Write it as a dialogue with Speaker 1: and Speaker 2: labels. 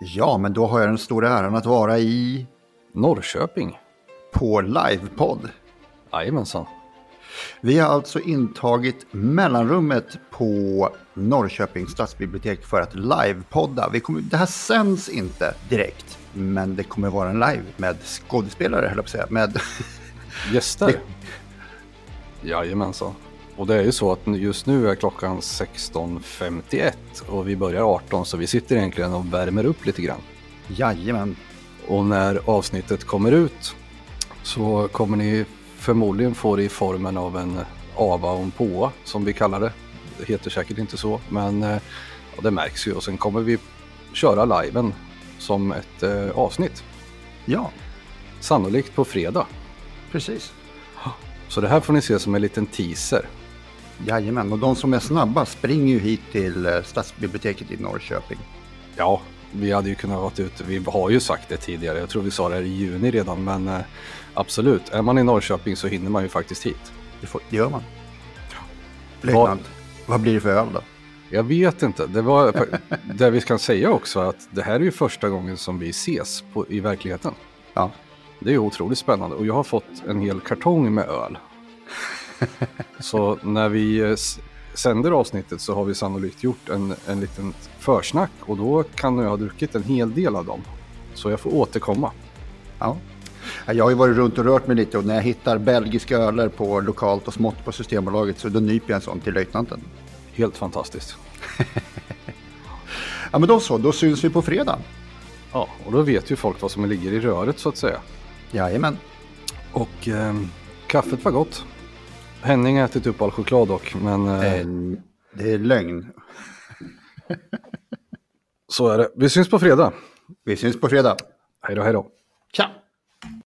Speaker 1: Ja, men då har jag den stora äran att vara i...
Speaker 2: Norrköping?
Speaker 1: På livepodd.
Speaker 2: Jajamensan.
Speaker 1: Vi har alltså intagit mellanrummet på Norrköpings stadsbibliotek för att livepodda. Vi kommer, det här sänds inte direkt, men det kommer vara en live med skådespelare, höll jag på att säga. Med,
Speaker 2: Gäster? Jajamensan. Och det är ju så att just nu är klockan 16.51 och vi börjar 18 så vi sitter egentligen och värmer upp lite grann.
Speaker 1: jajamän,
Speaker 2: Och när avsnittet kommer ut så kommer ni förmodligen få det i formen av en ava och en påa som vi kallar det. Det heter säkert inte så, men eh, ja, det märks ju. Och sen kommer vi köra liven som ett eh, avsnitt.
Speaker 1: ja,
Speaker 2: Sannolikt på fredag.
Speaker 1: precis.
Speaker 2: Så det här får ni se som en liten teaser.
Speaker 1: Jajamän, och de som är snabba springer ju hit till eh, stadsbiblioteket i Norrköping.
Speaker 2: Ja, vi hade ju kunnat vara ute. Vi har ju sagt det tidigare. Jag tror vi sa det här i juni redan, men eh, absolut. Är man i Norrköping så hinner man ju faktiskt hit.
Speaker 1: Det, får, det gör man. Löjtnant, vad blir det för öl då?
Speaker 2: Jag vet inte. Det var det vi ska säga också att det här är ju första gången som vi ses på, i verkligheten.
Speaker 1: Ja,
Speaker 2: Det är ju otroligt spännande och jag har fått en hel kartong med öl. Så när vi eh, s- sänder avsnittet så har vi sannolikt gjort en, en liten försnack och då kan jag ha druckit en hel del av dem. Så jag får återkomma.
Speaker 1: Ja. Jag har ju varit runt och rört mig lite och när jag hittar belgiska öler på lokalt och smått på Systembolaget så då nyper jag en sån till löjtnanten.
Speaker 2: Helt fantastiskt.
Speaker 1: Ja men då så, då syns vi på fredag.
Speaker 2: Ja, och då vet ju folk vad som ligger i röret så att säga.
Speaker 1: Jajamän.
Speaker 2: Och ehm, kaffet var gott. Henning har ätit upp all choklad dock, men eh,
Speaker 1: En- Det är lögn.
Speaker 2: så är det. Vi syns på fredag.
Speaker 1: Vi syns på fredag.
Speaker 2: Hej då, hej då.
Speaker 1: Tja!